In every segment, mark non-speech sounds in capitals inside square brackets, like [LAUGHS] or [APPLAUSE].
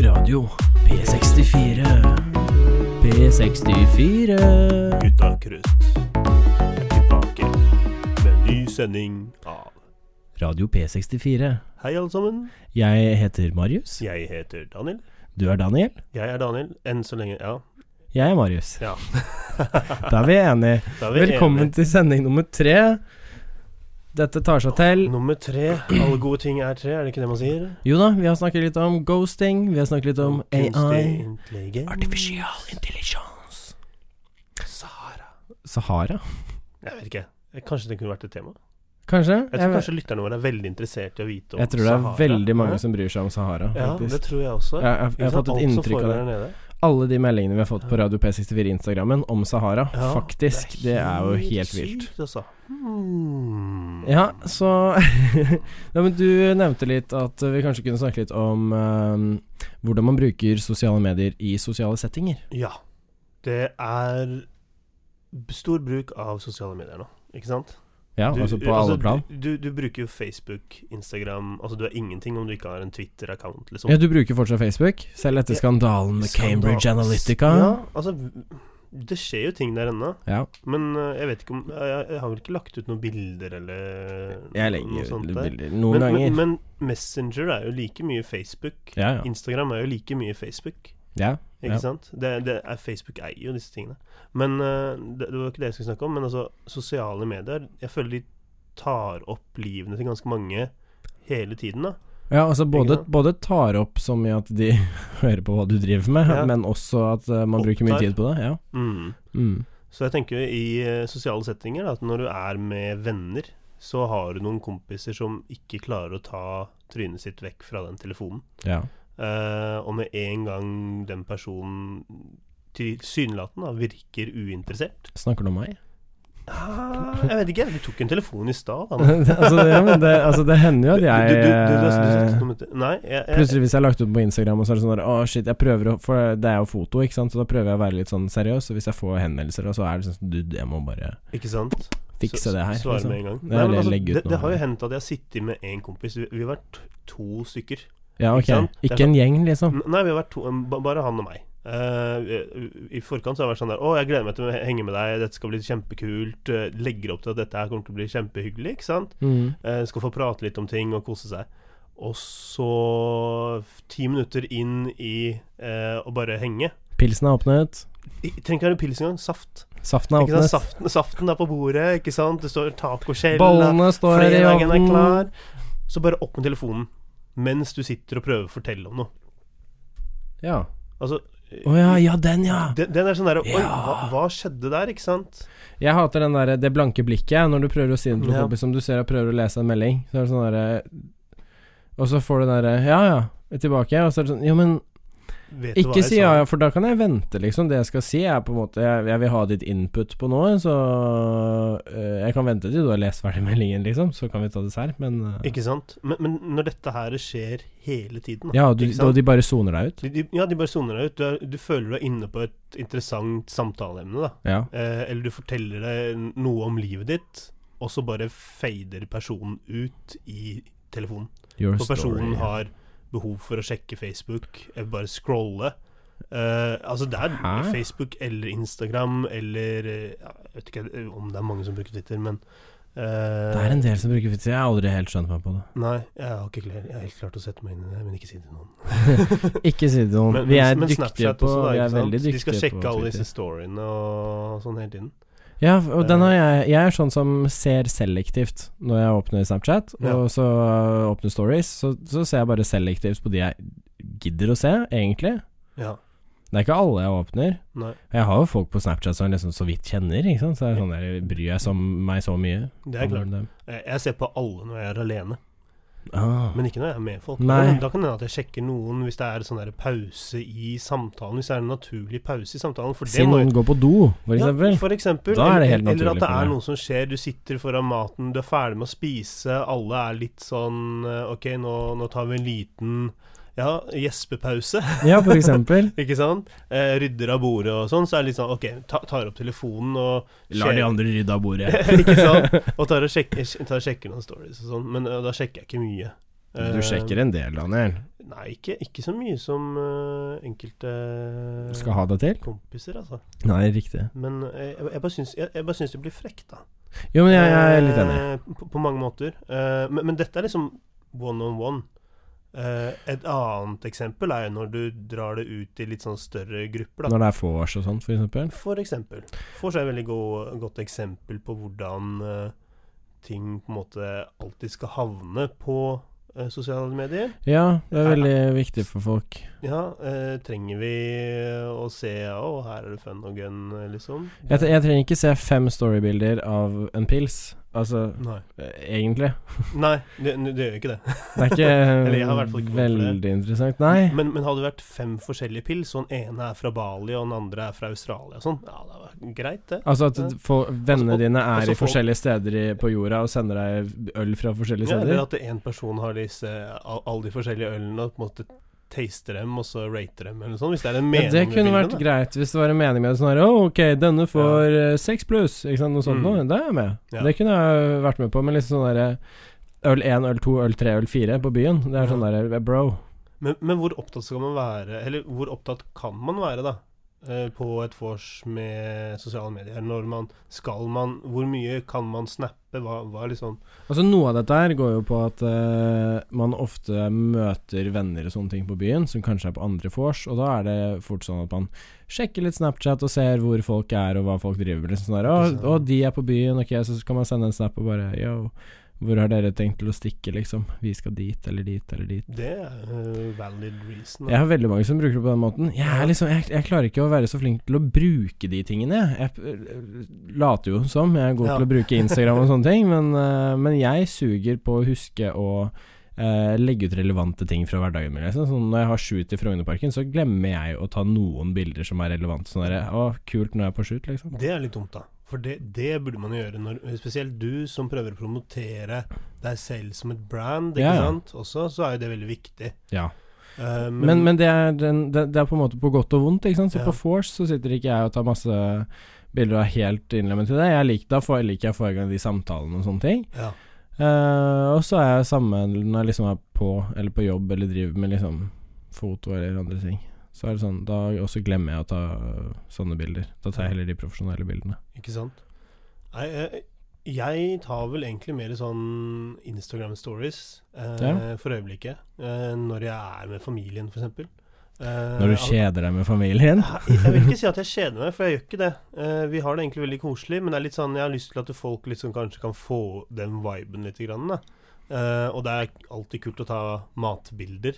Radio P64. P64. Gutta Krøst er tilbake med en ny sending av Radio P64. Hei, alle sammen. Jeg heter Marius. Jeg heter Daniel. Du er Daniel. Jeg er Daniel. Enn så lenge, ja. Jeg er Marius. ja. [LAUGHS] Da er vi enige. Da er vi Velkommen enige. til sending nummer tre. Dette tar seg til. Nummer tre. Alle gode ting er tre, er det ikke det man sier? Jo da, vi har snakket litt om ghosting. Vi har snakket litt om Kunstig AI. intelligens. Artificial intelligence. Sahara. Sahara? Jeg vet ikke. Kanskje det kunne vært et tema? Kanskje? Jeg tror kanskje lytterne våre er veldig interessert i å vite om jeg tror det er Sahara. veldig mange som bryr seg om Sahara. Ja, faktisk. det tror jeg også. Jeg, jeg, jeg har fått et inntrykk av det. det. Alle de meldingene vi har fått på Radio P64 Instagrammen om Sahara, faktisk, det er jo helt vilt. Sykt, altså. Hmm. Ja, så [LAUGHS] ja, men Du nevnte litt at vi kanskje kunne snakke litt om eh, hvordan man bruker sosiale medier i sosiale settinger. Ja. Det er b- stor bruk av sosiale medier nå, ikke sant? Ja, Du- altså på alle plan. Du, du, du bruker jo Facebook, Instagram Altså, du er ingenting om du ikke har en Twitter-account, liksom. Ja, Du bruker fortsatt Facebook, selv etter Ja. skandalen med Skandal. Cambridge Analytica. Ja, altså v- Det skjer jo ting der ennå, Ja, men eh, jeg vet ikke om Jeg, jeg har vel ikke lagt ut noen bilder eller Jeg Eh, noe legger jo sånt der. bilder noen Men, ganger. men, men Messenger er jo like mye Facebook. Ja, ja. Instagram er jo like mye Facebook. ja. Ikke Ja. sant? Det, det er, Facebook eier jo disse tingene. Men eh, det, det var ikke det jeg skulle snakke om. Men altså, sosiale medier Jeg føler de tar opp livene til ganske mange hele tiden, da. Ja, altså både, Ikke sant? både tar opp så mye at de [LAUGHS] hører på hva du driver med, Ja. men også at eh, man bruker mye Opptar. tid på det. Ja. Mm. Mm. Så jeg tenker jo i eh, sosiale settinger da, at når du er med venner, så har du noen kompiser som ikke klarer å ta trynet sitt vekk fra den telefonen. Ja. Eh, og med en gang den personen tilsynelatende da, virker uinteressert Snakker du om meg? ah, Jeg vet ikke, du tok en telefon i stad. [LAUGHS] da. altså, det, ja, men det, altså, det hender jo at Du- jeg du- du- du- du- du- du- eh, du- du- du- Nei, jeg, jeg, Plutselig hvis jeg har lagt ut på Instagram, og så er det sånn der, Å, shit, jeg prøver å For det er jo foto, ikke sant, så da prøver jeg å være litt sånn seriøs. Og hvis jeg får henvendelser, og så er det sånn Du, jeg må bare ikke sant? fikse Så- det her. Svare liksom. med en gang. Ja, Nei, men eller altså, legge ut det, noe. det har jo hendt at jeg har sittet med én kompis. Vi, vi har vært to stykker. Ja, ikke sant? ok. Det er Ikke en gjeng, liksom. N- Nei, vi har vært to, ba- bare han og meg. Eh, I forkant så har jeg vært sånn der Å, jeg gleder meg til å henge med deg, dette skal bli kjempekult. eh, Legger opp til at dette her kommer til å bli kjempehyggelig, ikke sant? Mm. Eh, skal få prate litt om ting og kose seg. Og så f- ti minutter inn i eh, å bare henge. Pilsen er åpnet. I- Trenger ikke være pils engang. Saft. Saften er Ikke sant? åpnet. Saften, saften er på bordet, ikke sant? Det står tacoskjell. Bollene står her i Fredagen er ovnen. klar. Så bare opp med telefonen mens du sitter og prøver å fortelle om noe. Ja. Altså Å ja, ja, den, ja. den, den er sånn derre Oi, Ja. hva, hva skjedde der, ikke sant? Jeg hater den der, det blanke blikket jeg, når du prøver å si det til en Ja. kompis som du ser og prøver å lese en melding. Så er det sånn derre Og så får du den derre Ja, ja. Tilbake. Og så er det sånn Jo, men Vet du hva ikke jeg si sa? ja, ja, for da kan jeg vente, liksom. Det jeg skal si, er på en måte Jeg, jeg vil ha ditt input på noe, så øh, Jeg kan vente til du har lest ferdig [LAUGHS] meldingen, liksom. Så kan vi ta dessert, men øh, Ikke sant? Men, men når dette her skjer hele tiden da, Ja, du, ikke sant? og de bare soner deg ut. de, de, Ja, de bare soner deg ut. Du, er, du føler du er inne på et interessant samtaleemne, da. Ja. Eh, eller du forteller deg noe om livet ditt, og så bare fader personen ut i telefonen. Your For personen story. har behov for å sjekke Facebook, eller bare scrolle. Eh, altså det er Hæ? Facebook eller Instagram eller eh, ja, Jeg vet ikke eh, om det er mange som bruker Twitter, men eh, Det er en del som bruker Twitter. Jeg har aldri helt skjønt meg på det. Nei, jeg har ikke klar, jeg har helt klart å sette meg inn i det, men ikke si det til noen. [LAUGHS] Ikke si det til noen. Men, Vi er men- men dyktige Snapchat på også, da, Vi ikke er sant? veldig De skal dyktige sjekke på alle Twitter. disse storyene og sånn hele tiden. Ja, og den Eh. har jeg Jeg er sånn som ser selektivt når jeg åpner Snapchat, Ja. og så åpner stories, så, så ser jeg bare selektivt på de jeg gidder å se, egentlig. Ja, Det er ikke alle jeg åpner. nei, Jeg har jo folk på Snapchat som jeg liksom så vidt kjenner, ikke sant. Så er det sånn der, bryr jeg som meg så mye? det er klart. om dem? Jeg jeg ser på alle når jeg er alene. Ah. Men ikke når jeg er med folk. Nei. Da kan- Da kan det hende at jeg sjekker noen hvis det er sånn der pause i samtalen. Hvis det er en naturlig pause i samtalen. For det Si må jo noen går på do, for eksempel. Ja, for eksempel. Da er det Eller- helt Eller at naturlig det for er meg. noe som skjer. Du sitter foran maten, du er ferdig med å spise, alle er litt sånn eh, Ok, nå, nå tar vi en liten ja, gjespepause, [LAUGHS] Ja, for eksempel. ikke sant? Eh, rydder av bordet og sånn. Så er det litt sånn Ok, ta, tar opp telefonen og Lar [LAUGHS] de andre rydde av bordet. ikke sant? Og tar og, sjekker, tar og sjekker noen stories og sånn. Men eh, da sjekker jeg ikke mye. Eh, Du sjekker en del, Daniel. Nei, ikke, ikke så mye som eh, enkelte Eh. Skal ha det til? kompiser, altså. Nei, riktig. Men eh, jeg, jeg bare syns- jeg, jeg bare syns det blir frekt, da. Jo, men jeg, jeg er litt enig. Eh, På, på mange måter. Eh, men, men dette er liksom one on one. Eh, et annet eksempel er jo når du drar det ut i litt sånn større grupper, da. Når det er vors og sånn, for eksempel. For eksempel. Får seg et veldig god, godt eksempel på hvordan eh, ting på en måte alltid skal havne på eh, sosiale medier. Ja, det er veldig viktig for folk. Ja, eh, trenger vi å se Å, her er det fun og gun, eh, liksom? Jeg, tre- jeg trenger ikke se fem storybilder av en pils. Altså, Nei. eh, egentlig. Nei, det, det gjør ikke det. Det er [LAUGHS] ikke, eh, jeg har i hvert fall ikke behov for det. veldig interessant. Nei. Men, men hadde det vært fem forskjellige pils, og den ene er fra Bali, og den andre er fra Australia og sånn, ja, det var greit, det. Altså at for, vennene og- dine og er så i folk- forskjellige steder i, på jorda og sender deg øl fra forskjellige Ja, steder. eller at én person har disse, all- alle de forskjellige ølene, og på en måte taster dem, og så rater dem, eller noe sånt. Hvis det er en Ja, mening det kunne med vært bildet, da. greit hvis det var en mening med det. Sånn her, «Å, ok, denne får eh, seks pluss, ikke sant, noe sånt Mm. noe. Det er jeg med. Ja. Det kunne jeg vært med på, men liksom sånn derre Øl 1, øl 2, øl 3, øl 4 på byen. Det er sånn Ja. derre Bro. Men, men hvor opptatt skal man være, eller hvor opptatt kan man være, da? eh, På et vors med sosiale medier. Når man skal man Hvor mye kan man snappe? Hva, hva er liksom Altså Noe av dette her går jo på at eh, man ofte møter venner og sånne ting på byen, som kanskje er på andre vors, og da er det fort sånn at man sjekker litt Snapchat og ser hvor folk er og hva folk driver med. Liksom sånn der, Ikke sant. å, å, de er på byen, ok, så kan man sende en snap og bare Yo, hvor har dere tenkt til å stikke, liksom? Vi skal dit eller dit eller dit. Det er eh, valid reason. da. Jeg har veldig mange som bruker det på den måten. Jeg, er liksom, jeg, jeg klarer ikke å være så flink til å bruke de tingene. Jeg, jeg øh, later jo som jeg er god Ja. til å bruke Instagram [LAUGHS] og sånne ting, men, øh, men jeg suger på å huske å øh, legge ut relevante ting fra hverdagen min. Liksom. Sånn, når jeg har shoot i Frognerparken, så glemmer jeg å ta noen bilder som er relevante. Sånn der, å, kult når jeg er på shoot, liksom. Mm. Det er litt dumt, da. For det, det burde man jo gjøre, når, spesielt du som prøver å promotere deg selv som et brand, ikke Ja, ja. sant, også, så er jo det veldig viktig. Ja. Eh, Men, men det, er den, det, det er på en måte på godt og vondt, ikke sant? Så Ja. på Force så sitter ikke jeg og tar masse bilder og er helt innlemmet i det. Jeg liker, da får, liker jeg å få i gang de samtalene og sånne ting. ja. Eh, og så er jeg sammen når jeg liksom er på eller på jobb eller driver med liksom foto eller andre ting. Så er det sånn, da også glemmer jeg å ta øh, sånne bilder. Da tar jeg heller de profesjonelle bildene. Ikke sant? Nei, eh, jeg tar vel egentlig mer sånn Instagram stories eh, Ja. for øyeblikket. Eh, når jeg er med familien, for eksempel. Eh, Når du al- kjeder deg med familien. Jeg vil ikke si at jeg kjeder meg, for jeg gjør ikke det. Eh, vi har det egentlig veldig koselig, men det er litt sånn, jeg har lyst til at folk liksom kanskje kan få den viben litt. Grann, da. Eh, og det er alltid kult å ta matbilder.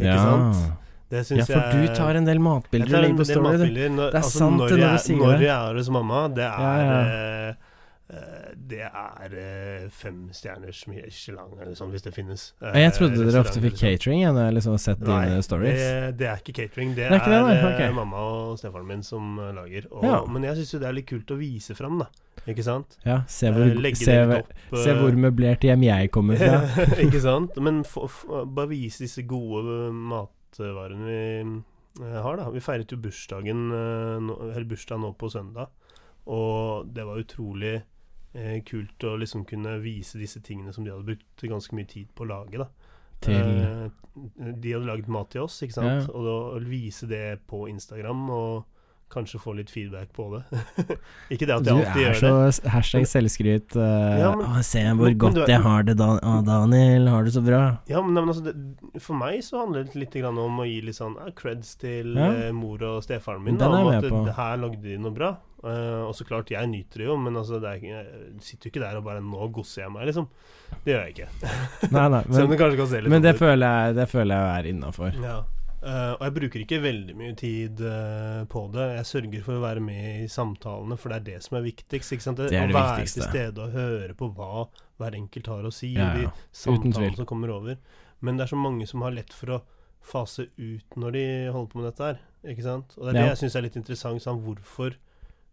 Ikke ja. sant? Det ja, syns jeg for du tar en del jeg matbilder tar du en legger på del story. du. matbilder. Når, Det er altså, sant når det når jeg, du sier Når det. jeg er hos mamma, det Ja, er ja. eh, eh, det er eh, fem stjerners Michelin, eller sånn, hvis det finnes. Eh, Ja, Jeg trodde dere ofte fikk catering. catering jeg, når jeg liksom har sett sånn. Nei, dine stories. Det, det er ikke catering. Det, Det er ikke det, nei, er eh, ok. mamma og stefaren min som eh, lager. Og, Ja. Men jeg syns jo det er litt kult å vise fram, da. Ikke sant? Ja, se Eh, hvor, Legge se, det litt opp. se eh, hvor møblert hjem jeg kommer [LAUGHS] fra. ikke sant? Men få- få- bare vise disse gode eh, matvarene vi eh, har, da. Vi feiret jo bursdagen eh, nå, eller bursdag nå på søndag, og det var utrolig eh, kult å liksom kunne vise disse tingene som de hadde brukt ganske mye tid på å lage, da. Til Eh, de hadde laget mat til oss, ikke Ja. sant? Og da å vise det på Instagram, og kanskje få litt feedback på det. [LAUGHS] ikke det at Du jeg er alltid gjør så det. s- hashtag selvskryt. eh, Ja, men- å, se men- hvor men godt du er- jeg har det, Dan å, Daniel. Har det så bra. Ja, men, nei, men altså, det, for meg så handler det litt grann om å gi litt sånn eh, creds til Ja. eh, mor og stefaren min. Den Da, er om jeg at med på. det her lagde de noe bra. Eh, og så klart, jeg nyter det jo, men altså, det er, ikke- jeg sitter jo ikke der og bare Nå gosser jeg meg, liksom. Det gjør jeg ikke. [LAUGHS] Nei, nei, [LAUGHS] Selv om det men, kanskje kan se litt men det sånn ut. føler jeg, det føler jeg er innafor. Ja. Eh, og jeg bruker ikke veldig mye tid eh, på det. Jeg sørger for å være med i samtalene, for det er det som er viktigst. Ikke sant? Det er det å være viktigste. til stede og høre på hva hver enkelt har å si, Ja, og ja. de Uten tvil. samtalene som kommer over. Men det er så mange som har lett for å fase ut når de holder på med dette her. Ikke sant? Og det er Ja. det jeg syns er litt interessant. Sånn, hvorfor,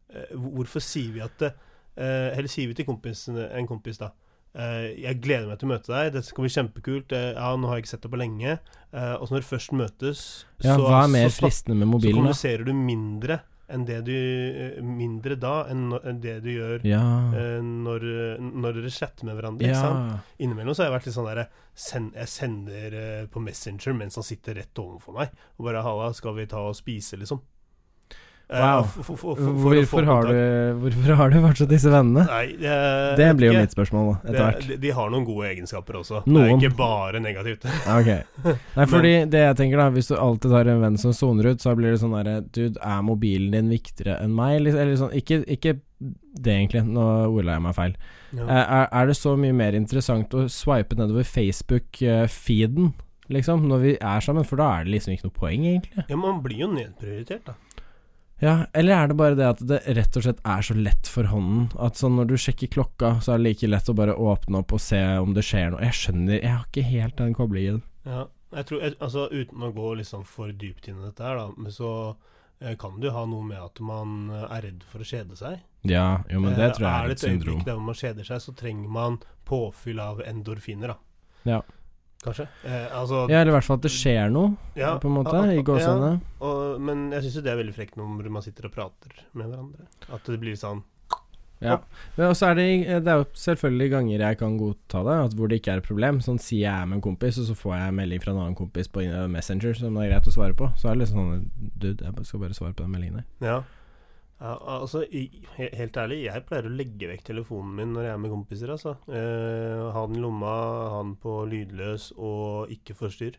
eh, hvor- hvorfor sier vi at det eh, Eller sier vi til kompisen, en kompis, da eh, Jeg gleder meg til å møte deg, dette skal bli kjempekult. eh, ja, nå har jeg ikke sett deg på lenge. Eh, og så når du først møtes, Ja, så, hva er mer så, snak- fristende med så mobilen? da? kommuniserer du mindre enn det du eh, Mindre da enn no- enn det du gjør Ja. eh, når, eh, når dere chatter med hverandre. Ikke ja. sant? Innimellom så har jeg vært litt sånn derre send, Jeg sender eh, på Messenger mens han sitter rett overfor meg, og bare 'Halla, skal vi ta og spise', liksom. Eh, Wow. f- f- f- for- for å få Hvorfor har, kontakt. du, hvorfor har du fortsatt disse vennene? Nei, jeg [LAUGHS] Det vet blir jo ikke. mitt spørsmål, da, etter Det- hvert. De, de har noen gode egenskaper også. Noen. Det er ikke bare negativt. [LAUGHS] Ja, Ok. Nei, fordi det jeg tenker da Hvis du alltid har en venn som soner ut, så blir det sånn derre Dude, er mobilen din viktigere enn meg? Eller, eller sånn Ikke, ikke det, egentlig. Nå ordla jeg meg feil. Eh, Ja. Er, er det så mye mer interessant å swipe nedover Facebook-feeden, liksom, når vi er sammen? For da er det liksom ikke noe poeng, egentlig. ja, man blir jo nedprioritert, da. Ja, Eller er det bare det at det rett og slett er så lett for hånden? At sånn når du sjekker klokka, så er det like lett å bare åpne opp og se om det skjer noe. Jeg skjønner, jeg har ikke helt den koblingen. Ja. Jeg tror, jeg, altså Uten å gå liksom for dypt inn i dette her, da, men så eh, kan det jo ha noe med at man eh, er redd for å kjede seg. Ja, jo, men Eh, det tror jeg er et øyeblikk syndrom. der hvor man kjeder seg, så trenger man påfyll av endorfiner, da. Ja. Kanskje. Eh, altså Ja, eller i hvert fall at det skjer noe, ja, på en måte, a- a- i gåsehudene. ja, og- Men jeg syns jo det er veldig frekt når man sitter og prater med hverandre. At det blir sånn Ja. Men også er det, eh, det er jo selvfølgelig ganger jeg kan godta det, at hvor det ikke er et problem. Sånn sier jeg er med en kompis, og så får jeg en melding fra en annen kompis på eh, Messenger som det er greit å svare på. Så er det liksom sånn Dude, jeg skal bare svare på den meldingen der. Ja. ja altså, i, he- helt ærlig, jeg pleier å legge vekk telefonen min når jeg er med kompiser, altså. Eh, ha den i lomma, ha den på lydløs og ikke forstyrr.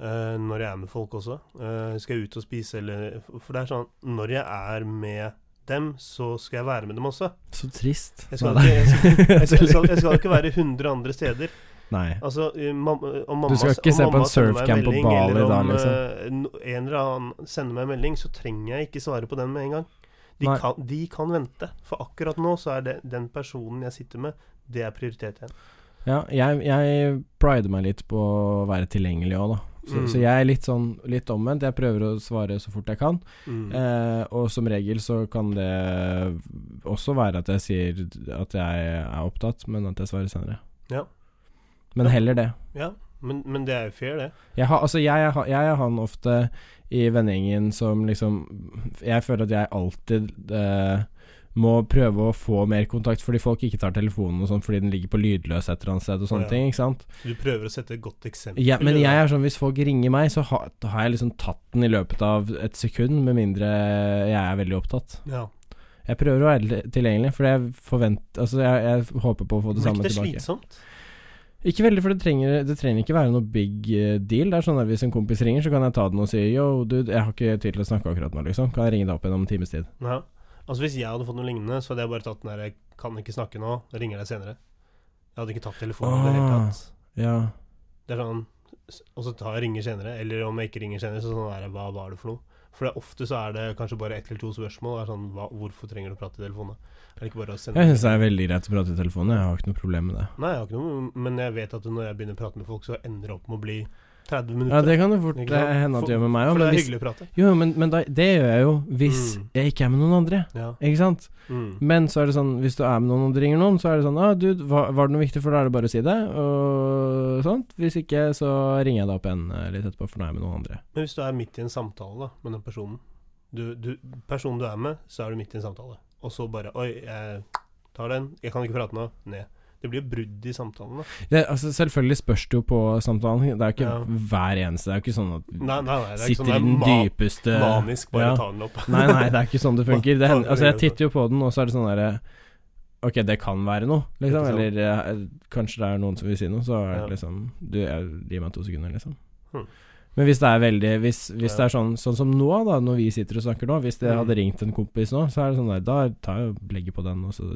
Eh, når jeg er med folk også. Eh, skal jeg ut og spise eller For det er sånn, når jeg er med dem, så skal jeg være med dem også. Så trist. Jeg skal, Nei, ikke, jeg skal, jeg skal, jeg skal, jeg skal [LAUGHS] tuller. ikke være 100 andre steder. Nei. Altså, eh, mam- eh, om mamma, Du skal ikke om se på mamma en sender meg surfcamp på melding, Bali eller om, da, liksom. eh, no- en eller annen sender meg en melding, så trenger jeg ikke svare på den med en gang. De Nei. kan, de kan vente, for akkurat nå så er det den personen jeg sitter med, det er prioritet igjen. Ja, jeg, jeg prider meg litt på å være tilgjengelig òg, da. Så, Mm. så jeg er litt sånn litt omvendt. Jeg prøver å svare så fort jeg kan. Mm. Eh, og som regel så kan det også være at jeg sier at jeg er opptatt, men at jeg svarer senere. Ja. Men heller det. Ja, men, men det er jo fair, det. Jeg, har, altså jeg, er ha- jeg er han ofte i vennegjengen som liksom Jeg føler at jeg alltid eh, må prøve å få mer kontakt fordi folk ikke tar telefonen og sånn fordi den ligger på lydløs et eller annet sted og sånne Ja. ting, ikke sant. Du prøver å sette et godt eksempel. Ja, men da. jeg er sånn hvis folk ringer meg, så har, da har jeg liksom tatt den i løpet av et sekund, med mindre jeg er veldig opptatt. ja. Jeg prøver å være litt tilgjengelig, for jeg forventer Altså, jeg, jeg håper på å få det Blir ikke samme det tilbake. slitsomt? Ikke veldig, for det trenger, det trenger ikke være noe big eh, deal. Det er sånn at Hvis en kompis ringer, så kan jeg ta den og si Yo, dude, jeg har ikke tid til å snakke akkurat nå, liksom. Kan jeg ringe deg opp igjen om en times tid? Ja. Altså Hvis jeg hadde fått noe lignende, så hadde jeg bare tatt den der 'jeg kan ikke snakke nå, jeg ringer deg senere'. Jeg hadde ikke tatt telefonen i det hele Ah. tatt. Ja. Det er sånn s- Og så tar jeg ringer senere, eller om jeg ikke ringer senere, så sånn er det, hva var det for noe? For det, er ofte så er det kanskje bare ett eller to spørsmål. Det er sånn, hva, hvorfor trenger du å prate i telefonen? Er det ikke bare å sende Jeg syns det er veldig greit å prate i telefonen, jeg har ikke noe problem med det. Nei, jeg har ikke noe Men jeg vet at når jeg begynner å prate med folk, så ender det opp med å bli 30 minutter. Ja, det kan jo fort Ikke sant? eh, hende at det gjør med meg for òg, det men, er hvis, hyggelig å prate. jo, men, men da, det gjør jeg jo hvis Mm. jeg ikke er med noen andre, Ja. ikke sant? Mm. Men så er det sånn, hvis du er med noen og du ringer noen, så er det sånn ah, 'Dude, var, var det noe viktig?' For da er det bare å si det, og sånt. Hvis ikke, så ringer jeg deg opp igjen eh, litt etterpå, for nå er jeg med noen andre. Men hvis du er midt i en samtale da med den personen du, du, Personen du er med, så er du midt i en samtale. Og så bare Oi, jeg tar den. Jeg kan ikke prate nå. Ned. Det blir jo brudd i samtalen, da. Det, altså, selvfølgelig spørs det jo på samtalen. Det er jo ikke Ja. hver eneste Det er jo ikke sånn at Nei, nei, nei det er ikke sitter sånn det i den er ma- dypeste Manisk, bare eh, ja. ta den opp. Nei, nei, det er ikke sånn det funker. Det hender, altså, jeg Vanlig, titter jo på den, og så er det sånn derre Ok, det kan være noe, liksom. Ikke sant? Eller eh, kanskje det er noen som vil si noe, så er det Ja. liksom Du, jeg- gi meg to sekunder, liksom. Hmm. Men hvis det er veldig Hvis, hvis Ja. det er sånn, sånn som nå, da, når vi sitter og snakker nå Hvis det Mm. hadde ringt en kompis nå, så er det sånn der Da tar jeg og legger på den, og så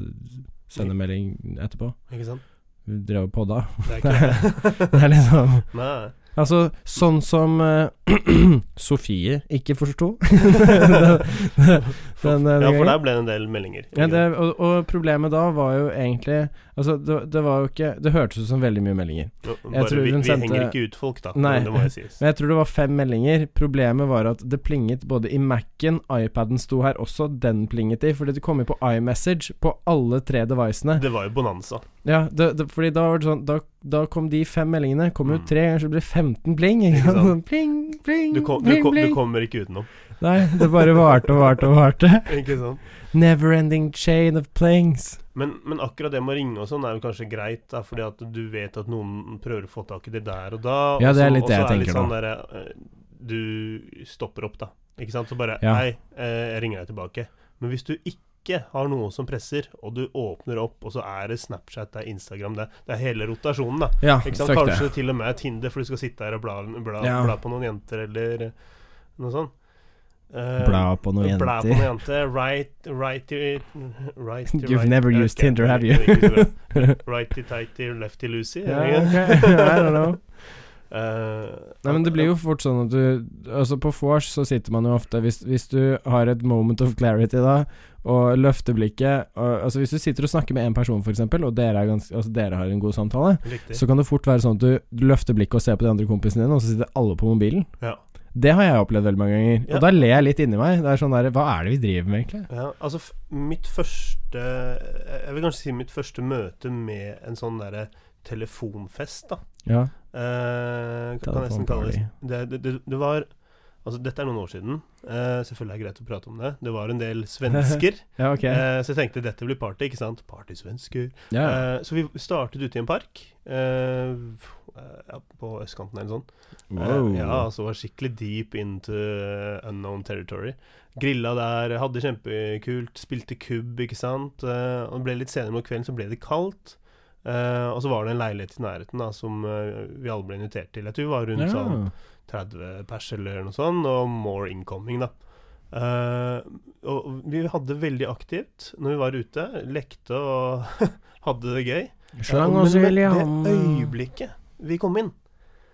sender Hm. melding etterpå. [LAUGHS] Ikke [LAUGHS] sant? Vi drev og podda. [LAUGHS] Det er ikke Det er liksom [LAUGHS] Nei. Altså, sånn som eh, [CLEARS THROAT] Sofie ikke forsto den, For, den, eh, ja, for gangen. der ble det en del meldinger. Ja, det, og, og problemet da var jo egentlig Altså, det, det var jo ikke Det hørtes ut som veldig mye meldinger. Jo, Bare, tror vi, hun vi sendte- henger ikke ut folk, da. Nei. men Det må jo [LAUGHS] sies. Men jeg tror det var fem meldinger. Problemet var at det plinget både i Mac-en, iPaden sto her også, den plinget i. Fordi det kom jo på iMessage på alle tre devicene. Det var jo bonanza. Ja, det, det, fordi da var det sånn Da, da kom de fem meldingene. Kom jo Mm. tre ganger, så ble det 15 pling. Ikke Ikke sant? sant? [LAUGHS] Pling, pling, Du, kom, du, pling, kom, du pling. kommer ikke utenom. [LAUGHS] Nei, det bare varte og varte og varte. Ikke sant? Never ending chain of planes. Men, men akkurat det med å ringe og sånn er jo kanskje greit, da, fordi at du vet at noen prøver å få tak i det der og da. Ja, det er og så- litt det jeg og så er tenker sånn der, eh, Du stopper opp, da. Ikke sant? Så bare Ja. Hei, eh, jeg ringer deg tilbake. Men hvis du ikke har noe som presser, og du åpner opp, og så er det Snapchat, det er Instagram, det, det er hele rotasjonen, da. Ja, Ikke sant? fuck Kanskje det. til og med Tinder, for du skal sitte her og bla, bla, Ja. bla på noen jenter, eller eh, noe sånt. Eh, Bla på noen Bla på noen jenter. jenter. Right, righty right, You've never used Tinder, have you? [LAUGHS] righty tighty, lefty loosey. Ja, eller noe. ok. I don't know. [LAUGHS] Eh, Nei, men det blir jo fort sånn at du Altså, på vors så sitter man jo ofte Hvis, hvis du har et moment of clarity da, og løfter blikket og, Altså, hvis du sitter og snakker med en person, for eksempel, og dere, er gans, altså, dere har en god samtale, Riktig. så kan det fort være sånn at du, du løfter blikket og ser på de andre kompisene dine, og så sitter alle på mobilen. Ja. Det har jeg opplevd veldig mange ganger. Ja. Og da ler jeg litt inni meg. Det er sånn der Hva er det vi driver med, egentlig? Ja, altså f mitt første eh, Jeg vil kanskje si mitt første møte med en sånn derre telefonfest, da. Ja. Eh, kan jeg nesten kalle det. Det, det, det, det var Altså, dette er noen år siden. Eh, selvfølgelig er det greit å prate om det. Det var en del svensker. Ja, [LAUGHS] ok. eh, så jeg tenkte dette blir party, ikke sant? Partysvensker. Ja, Eh, så vi startet ute i en park eh, ja, på østkanten eller sånn. Eh, wow. ja, altså var skikkelig deep into eh, unknown territory. Grilla der, hadde kjempekult, spilte kubb, ikke sant. Eh, og det ble litt senere mot kvelden, så ble det kaldt. Eh, og så var det en leilighet i nærheten da, som eh, vi alle ble invitert til. Jeg tror vi var rundt Ja. sånn 30 pers eller noe sånt, og more incoming, da. Eh, og vi hadde veldig aktivt når vi var ute. Lekte og [LAUGHS] hadde det gøy. Slang Ja, oss i men det- Lian. Det øyeblikket vi kom inn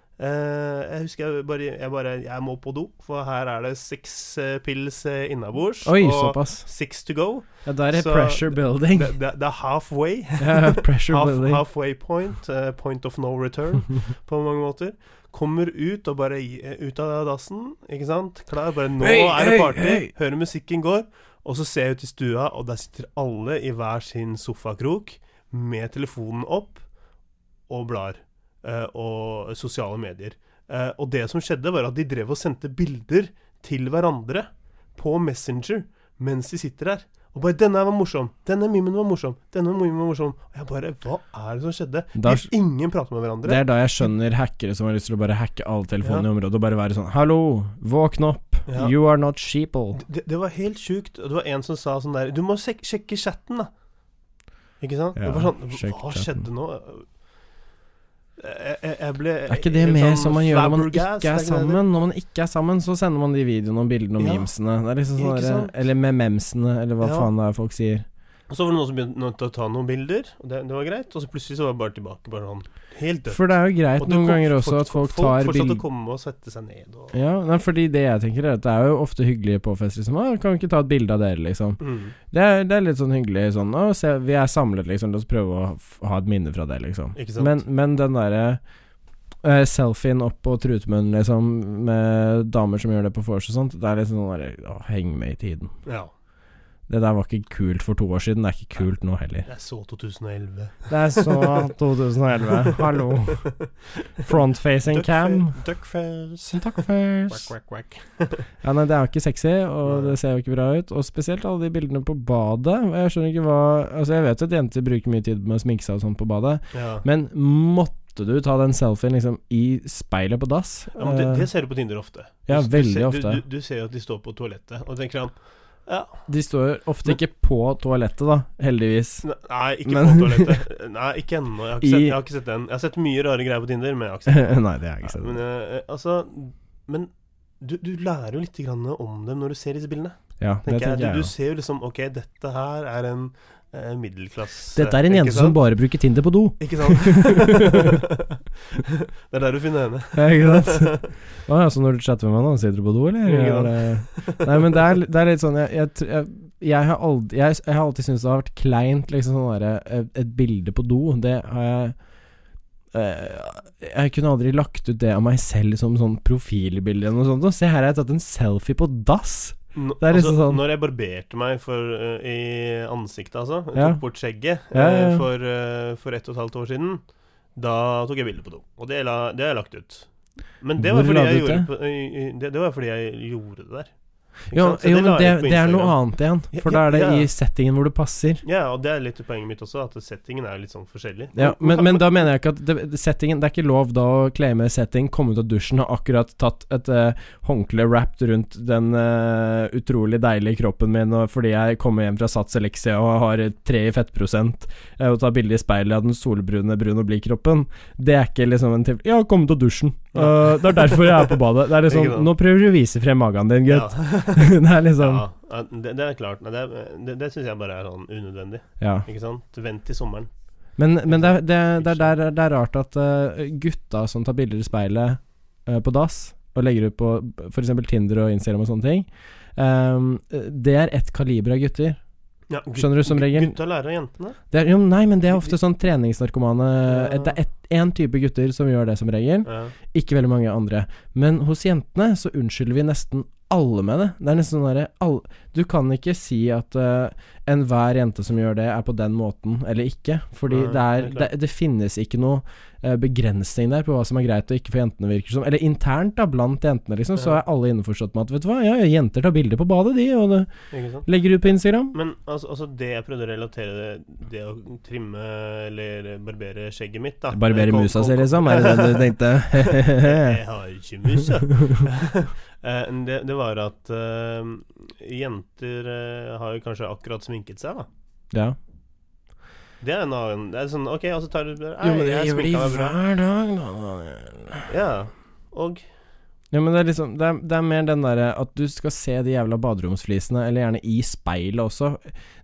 eh, Jeg husker jeg bare, jeg bare Jeg må på do, for her er det seks eh, pils eh, innabords. Oi, og såpass. six to go. Ja, da er det så- pressure building. Det, det, det er halfway. [LAUGHS] Ja, pressure Half, building. halfway point. eh, point of no return, på mange måter. Kommer ut og bare i- eh, ut av dassen, ikke sant. Klar, bare nå Hei, er det hei, party. hei. Hører musikken går. Og så ser jeg ut i stua, og der sitter alle i hver sin sofakrok med telefonen opp og blar. eh, og sosiale medier. Eh, og det som skjedde, var at de drev og sendte bilder til hverandre på Messenger mens de sitter der. Og bare 'Denne her var morsom. Denne mimen var morsom. Denne mimen var morsom.' Og jeg bare Hva er det som skjedde? Da- de, ingen prater med hverandre. Det er da jeg skjønner hackere som har lyst til å bare hacke alle telefonene Ja. i området og bare være sånn Hallo, våkn opp, Ja. you are not sheeple. Det, det var helt sjukt. Og det var en som sa sånn der Du må sjek sjekke chatten, da. Ikke sant? Ja, det var sånn sjekk Hva chatten. skjedde nå? Jeg, jeg, jeg ble Er ikke det sånn mer som man gjør når man ikke flabbergasted, er det det? sammen? Når man ikke er sammen, så sender man de videoene og bildene og Ja. memesene. Det er liksom sånn der, Ikke sant? Eller med memsene, eller hva Ja. faen det er folk sier. Og så var det noen som begynte å ta noen bilder, og det, det var greit. Og så plutselig så var jeg bare tilbake, bare sånn helt dødt. For det er jo greit Og det noen kom- ganger også fort- at folk Folk tar fortsatte bilder å komme og sette seg ned og Ja, nei, fordi det jeg tenker er at det er jo ofte hyggelige påfester som «Å, Kan vi ikke ta et bilde av dere, liksom? mm. Det er, det er litt sånn hyggelig sånn Å, se, vi er samlet, liksom. La oss prøve å f- ha et minne fra det, liksom. Ikke sant? Men, men den derre eh, selfien opp på trutemunnen, liksom, med damer som gjør det på vors og sånt, det er liksom sånn derre Å, heng med i tiden. Ja. Det der var ikke kult for to år siden, det er ikke kult nå heller. Jeg så 2011. Det er så [LAUGHS] 2011. Hallo. Frontfacing cam. Duckfa- Duckface. Takk først. Quack, quack, quack. Ja, nei, det er jo ikke sexy, og Nei. det ser jo ikke bra ut. Og spesielt alle de bildene på badet. Jeg skjønner ikke hva Altså, jeg vet jo at jenter bruker mye tid med å sminke seg og sånn på badet, Ja. men måtte du ta den selfien liksom i speilet på dass? Ja, men det, Eh, det ser du på Tinder ofte. Ja, du, veldig du ser, ofte. Du, du, du ser jo at de står på toalettet og tenker sånn De står ofte Men- ikke på toalettet, da, heldigvis. Nei, ikke Men- på toalettet. [LAUGHS] Nei, ikke ennå. Jeg, har ikke I- sett- jeg har ikke sett den. Jeg har sett mye rare greier på Tinder, men jeg har ikke sett [LAUGHS] den. nei, det har jeg ikke sett. Men, eh, altså, men du, du lærer jo litt grann om dem når du ser disse bildene. Ja, det Tenker tenker jeg. Du, jeg du òg. ser jo liksom Ok, dette her er en eh, middelklasse Dette er en ikke jente som sant? bare bruker Tinder på do. Ikke [LAUGHS] sant? [LAUGHS] det er der du finner henne. Ja, ikke sant? [LAUGHS] Å ja, så når du chatter med meg nå, sitter du på do, eller? Ikke sant? Eller- Nei, men det er, det er litt sånn Jeg, jeg, tr- jeg, jeg, har, aldri, jeg, jeg har alltid syntes det har vært kleint, liksom sånn derre et- Et bilde på do, det har jeg eh, Jeg kunne aldri lagt ut det av meg selv som sånn profilbilde eller noe sånt. Og se her, jeg har tatt en selfie på dass! Nå- Det er liksom altså, sånn- Når jeg barberte meg for, eh, i ansiktet, altså jeg Ja. Tok bort skjegget Ja, ja, eh, ja. for, eh, for ett og et halvt år siden. Da tok jeg bilde på do, og det, la, det har jeg lagt ut. Men det var, Hvor fordi la du jeg ut gjorde det? på- i- i- det, det var fordi jeg gjorde det der. Ikke Jo, sant? Så jo det men la det, jeg ut på det er noe Instagram. annet igjen. Ja, For da er det ja, ja. i settingen hvor det passer. Ja, og det er litt poenget mitt også, at settingen er litt sånn forskjellig. Ja, men, men da mener jeg ikke at det, det- settingen Det er ikke lov da å claime setting, komme ut av dusjen og akkurat tatt et eh, håndkle wrapped rundt den eh, utrolig deilige kroppen min og fordi jeg kommer hjem fra Sats Elixia og har tre i fettprosent, eh, og tar bilde i speilet av den solbrune, brun og blid kroppen. Det er ikke liksom en tilfelle Jeg har kommet ut av dusjen. Eh, det er derfor jeg er på badet. Det er liksom [LAUGHS] Ikke sant. Nå prøver du å vise frem magen din, Ja, gutt. [LAUGHS] det er liksom ja, ja, det, det er klart. Nei, det er- det, det syns jeg bare er sånn unødvendig. Ja. Ikke sant? Vent til sommeren. Men, men det, er- det, er- det, er der, det er rart at eh, gutta som tar bilder i speilet eh, på dass, og legger ut på f.eks. Tinder og Instagram og sånne ting, eh, det er ett kaliber av gutter. Ja, gut- Skjønner du som regel? Gutta lærer av jentene. Det er, jo, nei, men det er ofte sånn treningsnarkomane Ja. Det er én type gutter som gjør det som regel, Ja. ikke veldig mange andre. Men hos jentene så unnskylder vi nesten alle med det. Det er nesten sånn derre all- Du kan ikke si at eh, enhver jente som gjør det, er på den måten eller ikke. Fordi Nei, det, er, det er det, klart. det finnes ikke noe eh, begrensning der på hva som er greit og ikke for jentene, virker det som. Eller internt, da, blant jentene, liksom, så Ja. er alle innforstått med at vet du hva, ja, ja, jenter tar bilder på badet, de, og det Ikke sant? legger ut på Instagram. Men altså, altså det jeg prøvde å relatere det, det å trimme eller barbere skjegget mitt da Barbere Kom- musa kom- si, kom- liksom, er det det du tenkte? [LAUGHS] Jeg har ikke musa. [LAUGHS] Eh, det, det var at eh, jenter eh, har jo kanskje akkurat sminket seg, da. ja. Det er en annen Det er sånn OK, og så tar du bare, Jo, men «Ei, det gjør de sminka meg bra. hver dag, da. Daniel. Ja. Og Ja, men det er liksom Det er, det er mer den derre at du skal se de jævla baderomsflisene, eller gjerne i speilet også.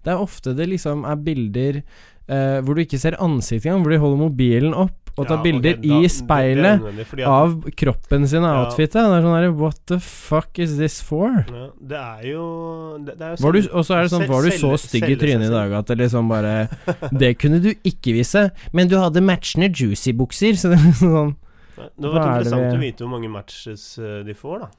Det er ofte det liksom er bilder eh, hvor du ikke ser ansiktet engang, hvor de holder mobilen opp og tar ja, bilder ok, da- i det- Det er speilet unødvendig, fordi at- av kroppen sin og Ja. outfitet. Det er sånn derre What the fuck is this for? ja, Det er jo det, det er jo Var du, selv- og så er det sånn sel- Var du så selge- stygg i selge seg trynet i selv. dag at det liksom bare [LAUGHS] Det kunne du ikke vise, men du hadde matchende juicy-bukser, så det er liksom sånn Ja, Det Hva var er det interessant vi- å vite hvor mange matches eh, de får, da.